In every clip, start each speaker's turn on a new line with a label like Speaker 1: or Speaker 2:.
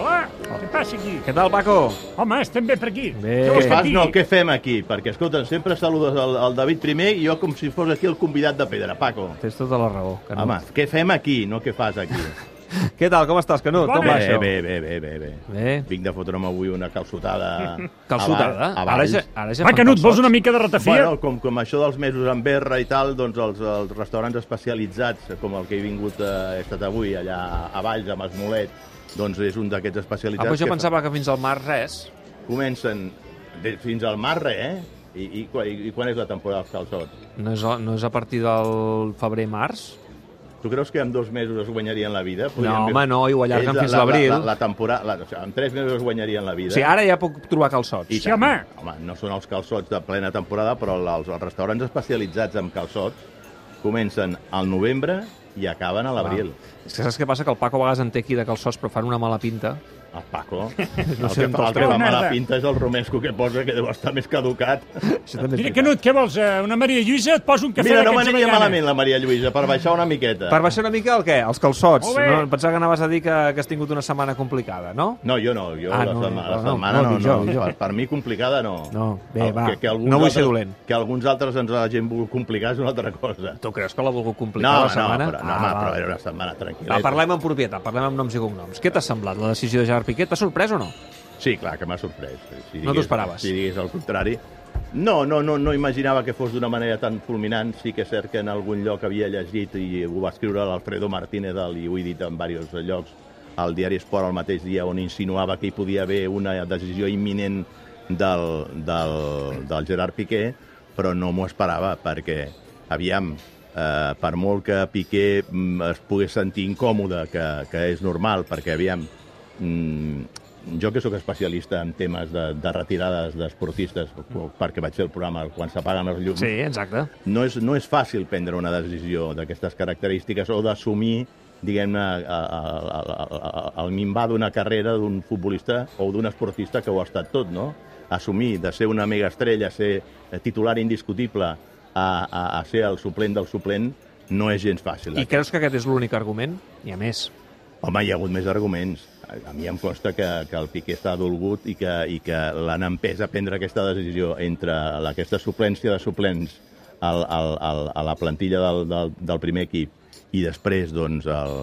Speaker 1: Hola, què passa aquí?
Speaker 2: Què tal, Paco?
Speaker 1: Home, estem bé per aquí.
Speaker 2: Bé.
Speaker 1: Què
Speaker 2: Què
Speaker 1: vols
Speaker 3: Què
Speaker 1: que
Speaker 3: fas?
Speaker 1: et
Speaker 3: No,
Speaker 1: digui?
Speaker 3: què fem aquí? Perquè, escolta, sempre saludes el, el David primer i jo com si fos aquí el convidat de pedra, Paco.
Speaker 2: Tens tota la raó, Canut.
Speaker 3: Home, què fem aquí? No què fas aquí.
Speaker 2: Què tal, com estàs, Canut? Com
Speaker 1: Bona.
Speaker 2: va
Speaker 3: Bé,
Speaker 2: això?
Speaker 3: bé, bé, bé, bé, bé.
Speaker 2: Bé.
Speaker 3: Vinc de fotre'm avui una calçotada...
Speaker 2: Calçotada?
Speaker 3: A,
Speaker 2: ara ja, ara ja
Speaker 1: Va,
Speaker 2: fan
Speaker 1: Canut, vols
Speaker 2: calçots.
Speaker 1: una mica de ratafia?
Speaker 3: Bueno, com, com això dels mesos en berra i tal, doncs els, els restaurants especialitzats, com el que he vingut, eh, he estat avui allà a Valls, a Masmolet, doncs és un d'aquests
Speaker 2: Ah,
Speaker 3: especialitzats
Speaker 2: però jo
Speaker 3: que
Speaker 2: pensava que fins al març res.
Speaker 3: comencen de, fins al marre, eh? I, i, quan- i, I quan és la temporada dels calçots?
Speaker 2: No és, no és a partir del febrer-març?
Speaker 3: Tu creus que en dos mesos es guanyarien la vida?
Speaker 2: No, home, no, i ho allarguen
Speaker 3: Ells,
Speaker 2: fins
Speaker 3: la-
Speaker 2: l'abril.
Speaker 3: La, la, la temporada... La, o sigui, en tres mesos es guanyarien la vida.
Speaker 2: O sigui, ara ja puc trobar calçots.
Speaker 3: I
Speaker 1: Sí,
Speaker 3: tant.
Speaker 1: home.
Speaker 3: home! No són els calçots de plena temporada, però la- els, els restaurants especialitzats en calçots comencen al novembre i acaben a l'abril.
Speaker 2: És que saps què passa? Que el Paco a vegades en té aquí de calçots, però fan una mala pinta.
Speaker 3: El Paco.
Speaker 2: No
Speaker 3: el
Speaker 2: sé
Speaker 3: que,
Speaker 2: on
Speaker 3: fa, el
Speaker 2: està.
Speaker 3: que
Speaker 1: Oh,
Speaker 3: fa mala
Speaker 1: merda.
Speaker 3: pinta és el romesco que posa, que deu estar més caducat.
Speaker 2: Això també és
Speaker 1: Mira,
Speaker 2: veritat.
Speaker 1: Canut, què vols? eh, Una Maria Lluïsa? Et poso un cafè
Speaker 3: Mira, no
Speaker 1: d'aquests
Speaker 3: m'aniria
Speaker 1: d'avellana.
Speaker 3: malament la Maria Lluïsa, per baixar una miqueta.
Speaker 2: Per baixar una mica el què? Els calçots.
Speaker 1: Molt bé.
Speaker 2: No, pensava que anaves a dir que, que has tingut una setmana complicada, no?
Speaker 3: No, jo no, jo
Speaker 2: Ah,
Speaker 3: la,
Speaker 2: no,
Speaker 3: setmana,
Speaker 2: no,
Speaker 3: la
Speaker 2: no,
Speaker 3: setmana
Speaker 2: no,
Speaker 3: no,
Speaker 2: dic
Speaker 3: no,
Speaker 2: jo, dic jo.
Speaker 3: Per, per mi complicada no.
Speaker 2: No, bé, va,
Speaker 3: alguns
Speaker 2: no vull ser
Speaker 3: altres-
Speaker 2: dolent.
Speaker 3: Que alguns altres ens la gent vulgui complicar és una altra cosa.
Speaker 2: Tu creus que l'ha volgut complicar
Speaker 3: No,
Speaker 2: la
Speaker 3: no,
Speaker 2: setmana? Ah,
Speaker 3: però, no, home, però era una setmana tranquil·la.
Speaker 2: Va, parlem en propietat, parlem en noms i cognoms. Què t'ha semblat la decisió de Gerard Piqué? T'ha sorprès o no?
Speaker 3: Sí, clar, que m'ha sorprès. eh, Si
Speaker 2: No t'ho esperaves.
Speaker 3: Si digués el contrari. No, no, no, no imaginava que fos d'una manera tan fulminant. Sí que és cert que en algun lloc havia llegit i ho va escriure l'Alfredo Martínez, el- i ho he dit en diversos llocs, al diari Esport el mateix dia on insinuava que hi podia haver una decisió imminent del, del, del Gerard Piqué, però no m'ho esperava perquè, aviam, eh, per molt que Piqué mm, es pogués sentir incòmode, que, que és normal, perquè, aviam, Mm, jo que sóc especialista en temes de, de retirades d'esportistes, perquè vaig fer el programa quan s'apaguen els llums,
Speaker 2: exacte.
Speaker 3: no, és, no és fàcil prendre una decisió d'aquestes característiques o d'assumir diguem-ne, a- a- a- a- el minvar d'una carrera d'un futbolista o d'un esportista que ho ha estat tot, no? Assumir de ser una mega estrella, ser eh, titular indiscutible, a, a, a ser el suplent del suplent, no és gens fàcil.
Speaker 2: I creus que aquest és l'únic argument? I a més.
Speaker 3: Home, hi ha hagut més arguments. A, a mi em consta que, que el Piqué està dolgut i que, i que l'han empès a prendre aquesta decisió entre la- aquesta suplència de suplents al, al, al, a la plantilla del, del, del primer equip i després doncs, el,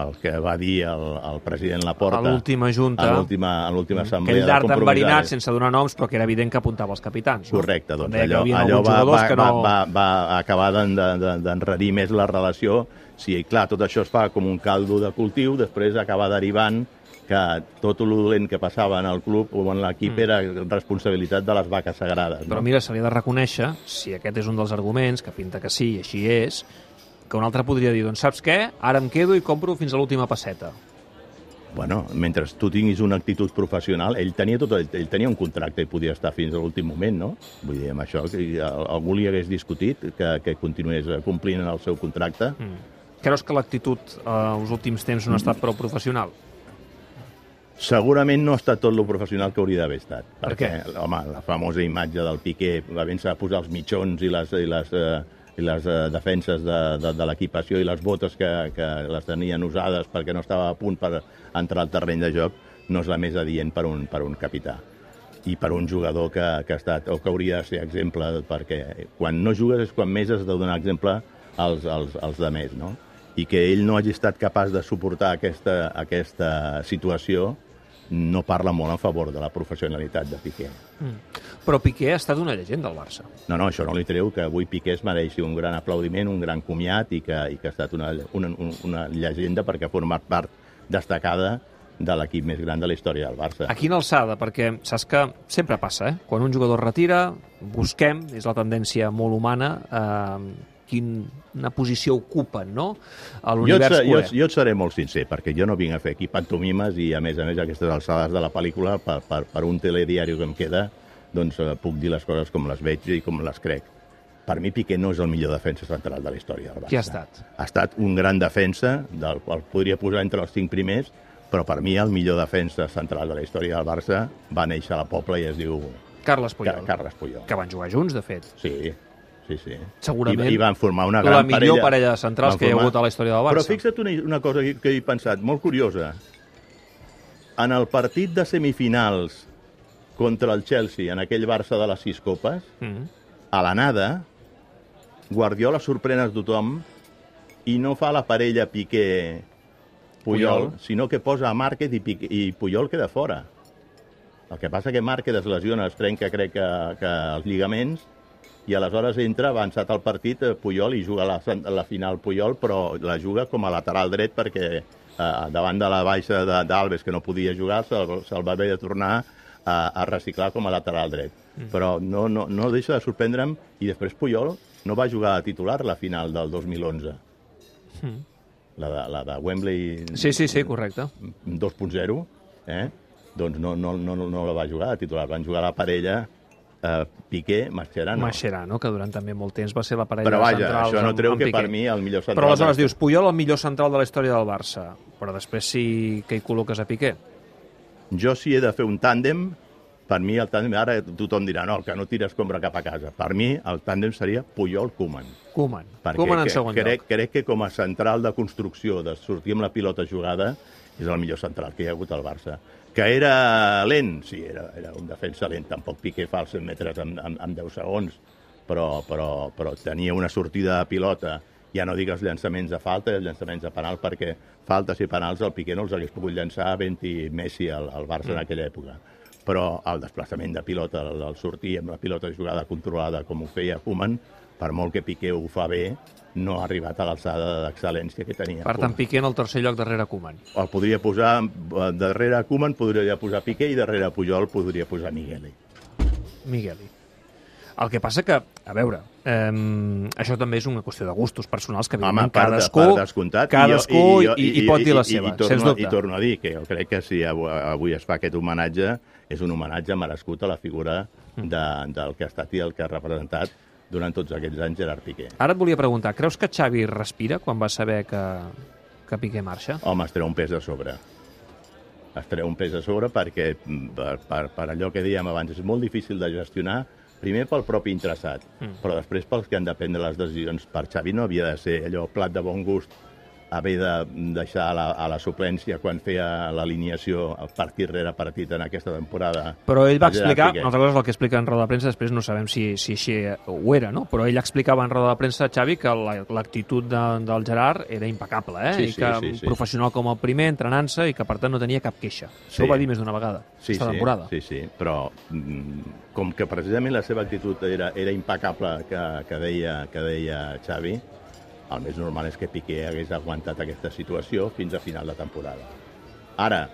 Speaker 3: el que va dir el, el president Laporta
Speaker 2: A Mm. l'última junta.
Speaker 3: a l'última a l'última assemblea
Speaker 2: Aquell dard
Speaker 3: de
Speaker 2: enverinat
Speaker 3: compromissaris.
Speaker 2: sense donar noms, però que era evident que apuntava els capitans. No?
Speaker 3: Correcte, doncs
Speaker 2: Deia que
Speaker 3: allò,
Speaker 2: hi havia
Speaker 3: allò
Speaker 2: alguns
Speaker 3: va, va,
Speaker 2: jugadors que
Speaker 3: va,
Speaker 2: no...
Speaker 3: va, va acabar d'en- de- de- d'enredir més la relació. Sí, clar, tot això es fa com un caldo de cultiu, després acaba derivant que tot el dolent que passava en el club o en l'equip mm. era responsabilitat de les vaques sagrades.
Speaker 2: Però
Speaker 3: no?
Speaker 2: mira, se li ha de reconèixer, si aquest és un dels arguments, que pinta que sí, i així és, que un altre podria dir, doncs saps què? Ara em quedo i compro fins a l'última passeta.
Speaker 3: Bueno, mentre tu tinguis una actitud professional, ell tenia, tot, ell, ell tenia un contracte i podia estar fins a l'últim moment, no? Vull dir, amb això, que al- algú li hagués discutit que, que continués eh, complint el seu contracte,
Speaker 2: Mm. Creus que l'actitud eh, els últims temps no ha estat prou professional?
Speaker 3: Segurament no ha estat tot lo professional que hauria d'haver estat.
Speaker 2: Per
Speaker 3: Home, la famosa imatge del Piqué havent-se de posar els mitjons i les, i les, eh, i les eh, defenses de, de, de l'equipació i les botes que, que les tenien usades perquè no estava a punt per entrar al terreny de joc, no és la més adient per un, per un capità i per un jugador que, que ha estat o que hauria de ser exemple, perquè quan no jugues és quan més has de donar exemple als, als, als demés, no? I que ell no hagi estat capaç de suportar aquesta, aquesta situació no parla molt en favor de la professionalitat de Piqué.
Speaker 2: Però Piqué ha estat una llegenda al Barça.
Speaker 3: No, no, això no li treu, que avui Piqué es mereixi un gran aplaudiment, un gran comiat i que, i que ha estat una, una, un- una llegenda perquè ha format part destacada de l'equip més gran de la història del Barça.
Speaker 2: A quina alçada? Perquè saps que sempre passa, eh? Quan un jugador es retira, busquem, és la tendència molt humana, eh, quina posició ocupen, no? A
Speaker 3: Jo et,
Speaker 2: l'univers
Speaker 3: se- jo,
Speaker 2: culer.
Speaker 3: jo et seré molt sincer, perquè jo no vinc a fer aquí pantomimes i, a més a més, a aquestes alçades de la pel·lícula, per, per, per un telediari que em queda, doncs eh, puc dir les coses com les veig i com les crec. Per mi Piqué no és el millor defensa central de la història del Barça.
Speaker 2: Qui ha estat?
Speaker 3: Ha estat un gran defensa, del qual podria posar entre els cinc primers, però per mi el millor defensa central de la història del Barça va néixer a la Pobla i es diu
Speaker 2: Carles
Speaker 3: Car
Speaker 2: Puyol.
Speaker 3: Carles Puyol.
Speaker 2: Que van jugar junts, de fet.
Speaker 3: Sí, sí, sí.
Speaker 2: Segurament
Speaker 3: I, i van formar una
Speaker 2: la
Speaker 3: gran
Speaker 2: millor
Speaker 3: parella.
Speaker 2: parella de centrals
Speaker 3: Van
Speaker 2: que hi ha hagut a la història del Barça.
Speaker 3: Però fixa't una, una cosa que, que he pensat, molt curiosa. En el partit de semifinals contra el Chelsea, en aquell Barça de les sis copes,
Speaker 2: Mm.
Speaker 3: a l'anada, Guardiola sorprèn a tothom i no fa la parella Piqué Puyol,
Speaker 2: Puyol.
Speaker 3: sinó que posa a Márquez i, Piqué, i Puyol queda fora. El que passa que Márquez es lesiona, es trenca, crec que, que els lligaments, i aleshores entra avançat al partit eh, Puyol i juga la, cent- la final Puyol, però la juga com a lateral dret perquè eh, davant de la baixa de- d'Alves, que no podia jugar, se'l se va haver de tornar a, a reciclar com a lateral dret. Mm. Però no, no, no deixa de sorprendre'm, i després Puyol no va jugar a titular la final del 2011.
Speaker 2: Mm.
Speaker 3: La de, la de Wembley
Speaker 2: Sí, sí, sí, correcte.
Speaker 3: 2.0, eh? doncs no, no, no, no la va jugar a titular, van jugar la parella eh, Piqué-Mascherano.
Speaker 2: Mascherano, que durant també molt temps va ser la parella
Speaker 3: Ah, Però
Speaker 2: de
Speaker 3: vaja,
Speaker 2: centrals
Speaker 3: això no
Speaker 2: amb-
Speaker 3: treu
Speaker 2: amb
Speaker 3: que
Speaker 2: Piqué.
Speaker 3: per mi el millor central...
Speaker 2: Però aleshores dius, Puyol el millor central de la història del Barça, però després sí que hi col·loques a Piqué.
Speaker 3: Jo si he de fer un tàndem, per mi el tàndem... Ara tothom dirà, no, el que no tira escombra cap a casa. Per mi el tàndem seria Puyol-Koeman.
Speaker 2: Koeman.
Speaker 3: Perquè
Speaker 2: Koeman
Speaker 3: cre-
Speaker 2: en segon
Speaker 3: crec,
Speaker 2: lloc.
Speaker 3: crec que com a central de construcció, de sortir amb la pilota jugada, és el millor central que hi ha hagut al Barça. Que era lent, sí, era, era un defensa lent, tampoc Piqué fa els 100 metres en, en, en 10 segons, però, però, però tenia una sortida de pilota, ja no dic els llançaments de falta i els llançaments de penal, perquè faltes i penals el Piqué no els hagués pogut llançar a 20 Messi al, al Barça mm. en aquella època. Però el desplaçament de pilota, el, el sortir amb la pilota jugada controlada com ho feia Koeman, per molt que Piqué ho fa bé, no ha arribat a l'alçada d'excel·lència que tenia.
Speaker 2: Per tant, Piqué en el tercer lloc darrere Koeman.
Speaker 3: El podria posar eh, darrere Koeman, podria posar Piqué i darrere Pujol podria posar Miguel.
Speaker 2: Migueli. El que passa que, a veure, eh, això també és una qüestió de gustos personals, que
Speaker 3: Home,
Speaker 2: evidentment
Speaker 3: per,
Speaker 2: cadascú,
Speaker 3: per descomptat.
Speaker 2: cadascú i, i, i, pot dir la seva,
Speaker 3: i, i,
Speaker 2: sens
Speaker 3: torno,
Speaker 2: dubte.
Speaker 3: I torno a dir que jo crec que si avui, avui es fa aquest homenatge, és un homenatge merescut a la figura
Speaker 2: Mm.
Speaker 3: de, del que ha estat i el que ha representat durant tots aquests anys Gerard Piqué.
Speaker 2: Ara et volia preguntar, creus que Xavi respira quan va saber que, que Piqué marxa?
Speaker 3: Home, es treu un pes de sobre. Es treu un pes de sobre perquè, mm, per, per, per allò que dèiem abans, és molt difícil de gestionar, primer pel propi interessat, mm. però després pels que han de prendre les decisions. Per Xavi no havia de ser allò plat de bon gust haver de mm, deixar a la, a la suplència quan feia l'alineació partit rere partit en aquesta temporada.
Speaker 2: Però ell va
Speaker 3: a Gerard
Speaker 2: explicar,
Speaker 3: Piqué.
Speaker 2: una altra cosa és el que explica en roda de premsa, després no sabem si, si així ho era, no? però ell explicava en roda de premsa a Xavi que la- l'actitud de, del Gerard era impecable, eh?
Speaker 3: Sí,
Speaker 2: I
Speaker 3: sí,
Speaker 2: que
Speaker 3: sí, sí.
Speaker 2: professional com el primer, entrenant-se, i que per tant no tenia cap queixa. Això
Speaker 3: Sí.
Speaker 2: ho va dir més d'una vegada, aquesta temporada.
Speaker 3: Sí, sí, però mm, com que precisament la seva actitud era, era impecable que, que, deia, que deia Xavi, el més normal és que Piqué hagués aguantat aquesta situació fins a final de temporada. Ara,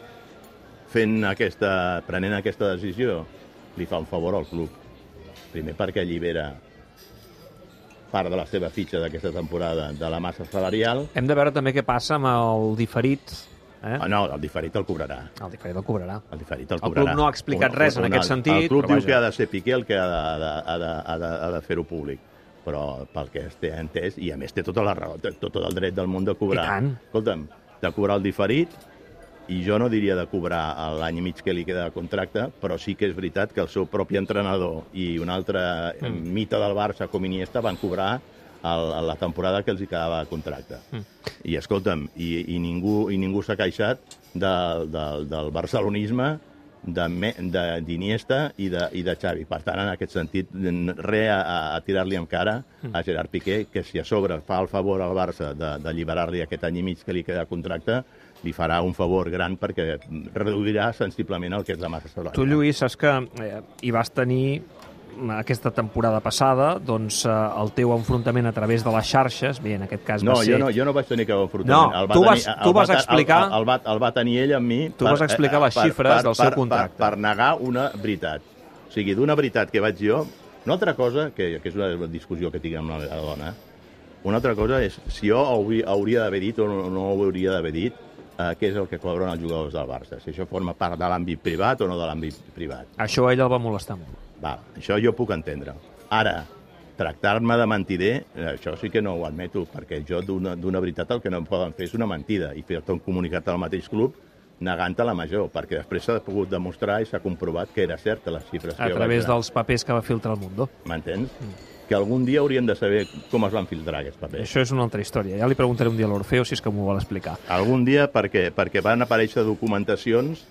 Speaker 3: fent aquesta, prenent aquesta decisió, li fa un favor al club. Primer perquè allibera part de la seva fitxa d'aquesta temporada de la massa salarial.
Speaker 2: Hem de veure també què passa amb el diferit. Eh?
Speaker 3: Ah, no, el diferit el cobrarà.
Speaker 2: El diferit el cobrarà.
Speaker 3: El diferit el
Speaker 2: El club
Speaker 3: cobrarà.
Speaker 2: no ha explicat res en aquest sentit,
Speaker 3: El club
Speaker 2: però
Speaker 3: diu
Speaker 2: vaja.
Speaker 3: que ha de ser Piqué el que ha de, ha de, ha de, ha de, ha de fer-ho públic però pel que es té entès, i a més té tota la raó, té tot el dret del món de cobrar.
Speaker 2: I tant.
Speaker 3: Escolta'm, de cobrar el diferit, i jo no diria de cobrar l'any i mig que li queda de contracte, però sí que és veritat que el seu propi entrenador i un altre mm. mite del Barça com Iniesta van cobrar el, la temporada que els hi quedava de contracte. Mm. I escolta'm, i, i ningú, i ningú s'ha queixat del, del, del barcelonisme de Me- de- d'Iniesta i, de, i de Xavi. Per tant, en aquest sentit, n- re a, a- a tirar-li en cara
Speaker 2: Mm.
Speaker 3: a Gerard Piqué, que si a sobre fa el favor al Barça de- d'alliberar-li aquest any i mig que li queda de contracte, li farà un favor gran perquè reduirà sensiblement el que és la massa salarial.
Speaker 2: Tu, Lluís, saps que eh, hi vas tenir mm, aquesta temporada passada doncs, eh, el teu enfrontament a través de les xarxes, bé, en aquest cas va
Speaker 3: No, jo
Speaker 2: ser...
Speaker 3: no, jo no vaig tenir cap
Speaker 2: No,
Speaker 3: enfrontament. El va
Speaker 2: tu
Speaker 3: tenir-
Speaker 2: vas-
Speaker 3: el
Speaker 2: tu
Speaker 3: va
Speaker 2: vas
Speaker 3: te- el-
Speaker 2: explicar-
Speaker 3: El, el, va, el va tenir ell amb mi... eh,
Speaker 2: Tu vas explicar les xifres del seu contracte.
Speaker 3: Per, per negar una veritat. O sigui, d'una veritat que vaig jo... Una altra cosa, que, que és una discussió que tinc amb la meva dona, una altra cosa és si jo hauria, hauria d'haver dit o no, no ho hauria d'haver dit eh, què és el que cobren els jugadors del Barça, si això forma part de l'àmbit privat o no de l'àmbit privat.
Speaker 2: Això a ella el va molestar molt.
Speaker 3: Va, això jo puc entendre. Ara, tractar-me de mentider, eh, això sí que no ho admeto, perquè jo d'una d'una veritat el que no em poden fer és una mentida i fer-te un comunicat al mateix club negant-te la major, perquè després s'ha pogut demostrar i s'ha comprovat que era certa les xifres
Speaker 2: A
Speaker 3: que jo vaig
Speaker 2: través
Speaker 3: donar.
Speaker 2: dels papers que va filtrar el Mundo.
Speaker 3: M'entens? que algun dia hauríem de saber com es van filtrar aquests papers.
Speaker 2: Això és una altra història. Ja li preguntaré un dia a l'Orfeo si és que m'ho vol explicar.
Speaker 3: Algun dia perquè, perquè van aparèixer documentacions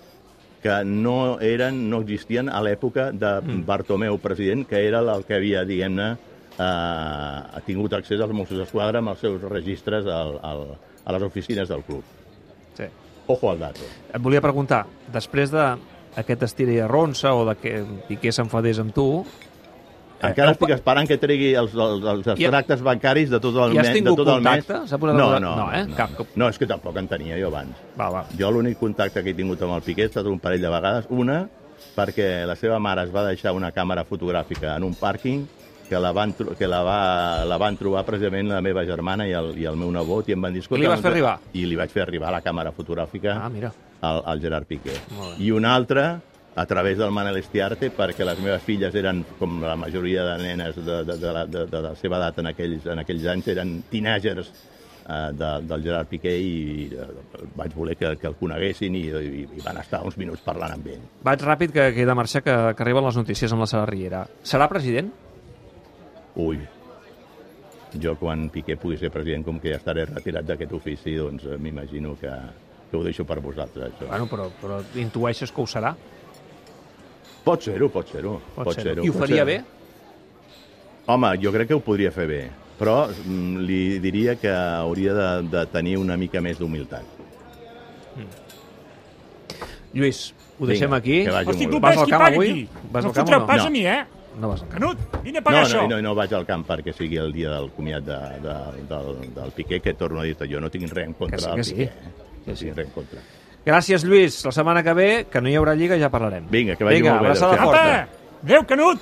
Speaker 3: que no eren, no existien a l'època de
Speaker 2: Mm.
Speaker 3: Bartomeu, president, que era el que havia, diguem-ne, eh, ha tingut accés als Mossos d'Esquadra amb els seus registres al, al, a les oficines del club.
Speaker 2: Sí.
Speaker 3: Ojo al dato.
Speaker 2: Et volia preguntar, després de aquest estira i arronsa o de que Piqué s'enfadés amb tu,
Speaker 3: Encara
Speaker 2: heu
Speaker 3: estic
Speaker 2: Eh, pa-
Speaker 3: esperant que tregui els, els, els
Speaker 2: I-
Speaker 3: extractes bancaris de tot el,
Speaker 2: I has
Speaker 3: me- de
Speaker 2: tingut
Speaker 3: tot el mes.
Speaker 2: contacte? S'ha posat
Speaker 3: no,
Speaker 2: alguna-
Speaker 3: no,
Speaker 2: no, eh?
Speaker 3: no,
Speaker 2: Cap
Speaker 3: no.
Speaker 2: cop.
Speaker 3: no, és que tampoc en tenia jo abans.
Speaker 2: va, va.
Speaker 3: Jo l'únic contacte que he tingut amb el Piqué ha estat un parell de vegades. Una, perquè la seva mare es va deixar una càmera fotogràfica en un pàrquing que la van, tro- que la va, la van trobar precisament la meva germana i el, i el meu nebot i em van dir... "Escolta,
Speaker 2: I li vas
Speaker 3: no
Speaker 2: fer
Speaker 3: te-"
Speaker 2: arribar?
Speaker 3: I li vaig fer arribar la càmera fotogràfica
Speaker 2: Ah, mira.
Speaker 3: al, al Gerard Piqué.
Speaker 2: Molt bé.
Speaker 3: I un altre a través del Manel Estiarte, perquè les meves filles eren, com la majoria de nenes de, de, de, la, de, de la seva edat en aquells, en aquells anys, eren teenagers eh, de, del Gerard Piqué i eh, vaig voler que, que el coneguessin i, i, i van estar uns minuts parlant amb ell.
Speaker 2: Vaig ràpid, que, que he de marxar, que, que arriben les notícies amb la Sara Riera. Serà president?
Speaker 3: Ui, jo quan Piqué pugui ser president, com que ja estaré retirat d'aquest ofici, doncs eh, m'imagino que, que ho deixo per vosaltres. Això.
Speaker 2: Bueno, però, però intueixes que ho serà?
Speaker 3: Pot ser-ho, pot ser-ho. Pot, ser-ho,
Speaker 2: I ho
Speaker 3: pot
Speaker 2: faria
Speaker 3: ser-ho.
Speaker 2: bé?
Speaker 3: Home, jo crec que ho podria fer bé, però mm, li diria que hauria de, de tenir una mica més d'humilitat.
Speaker 2: Lluís, ho
Speaker 3: Vinga,
Speaker 2: deixem aquí.
Speaker 3: que vagi
Speaker 1: Hosti,
Speaker 3: molt
Speaker 1: tu
Speaker 3: bé.
Speaker 2: Vas
Speaker 1: ves
Speaker 2: al
Speaker 1: qui
Speaker 2: camp
Speaker 1: paga
Speaker 2: avui?
Speaker 1: aquí.
Speaker 2: Vas
Speaker 1: No
Speaker 2: al camp
Speaker 1: fotreu
Speaker 2: o no?
Speaker 1: pas a
Speaker 3: No.
Speaker 1: mi, eh?
Speaker 2: No vas al camp.
Speaker 1: Canut, vine a
Speaker 3: No,
Speaker 1: pagar
Speaker 3: no,
Speaker 1: això.
Speaker 3: no, no vaig al camp perquè sigui el dia del comiat de, de, del, del Piqué, que torno a dir-te, jo no tinc res en contra
Speaker 2: Que sí,
Speaker 3: del
Speaker 2: que sí.
Speaker 3: Piqué. eh?
Speaker 2: Que
Speaker 3: No
Speaker 2: sí.
Speaker 3: tinc res en contra.
Speaker 2: Gràcies, Lluís. La setmana que ve, que no hi haurà lliga, ja parlarem.
Speaker 3: Vinga, que vagi
Speaker 2: Vinga,
Speaker 3: molt bé.
Speaker 2: abraçada
Speaker 3: adéu-siau.
Speaker 2: forta.
Speaker 1: Apa! Adéu, Canut!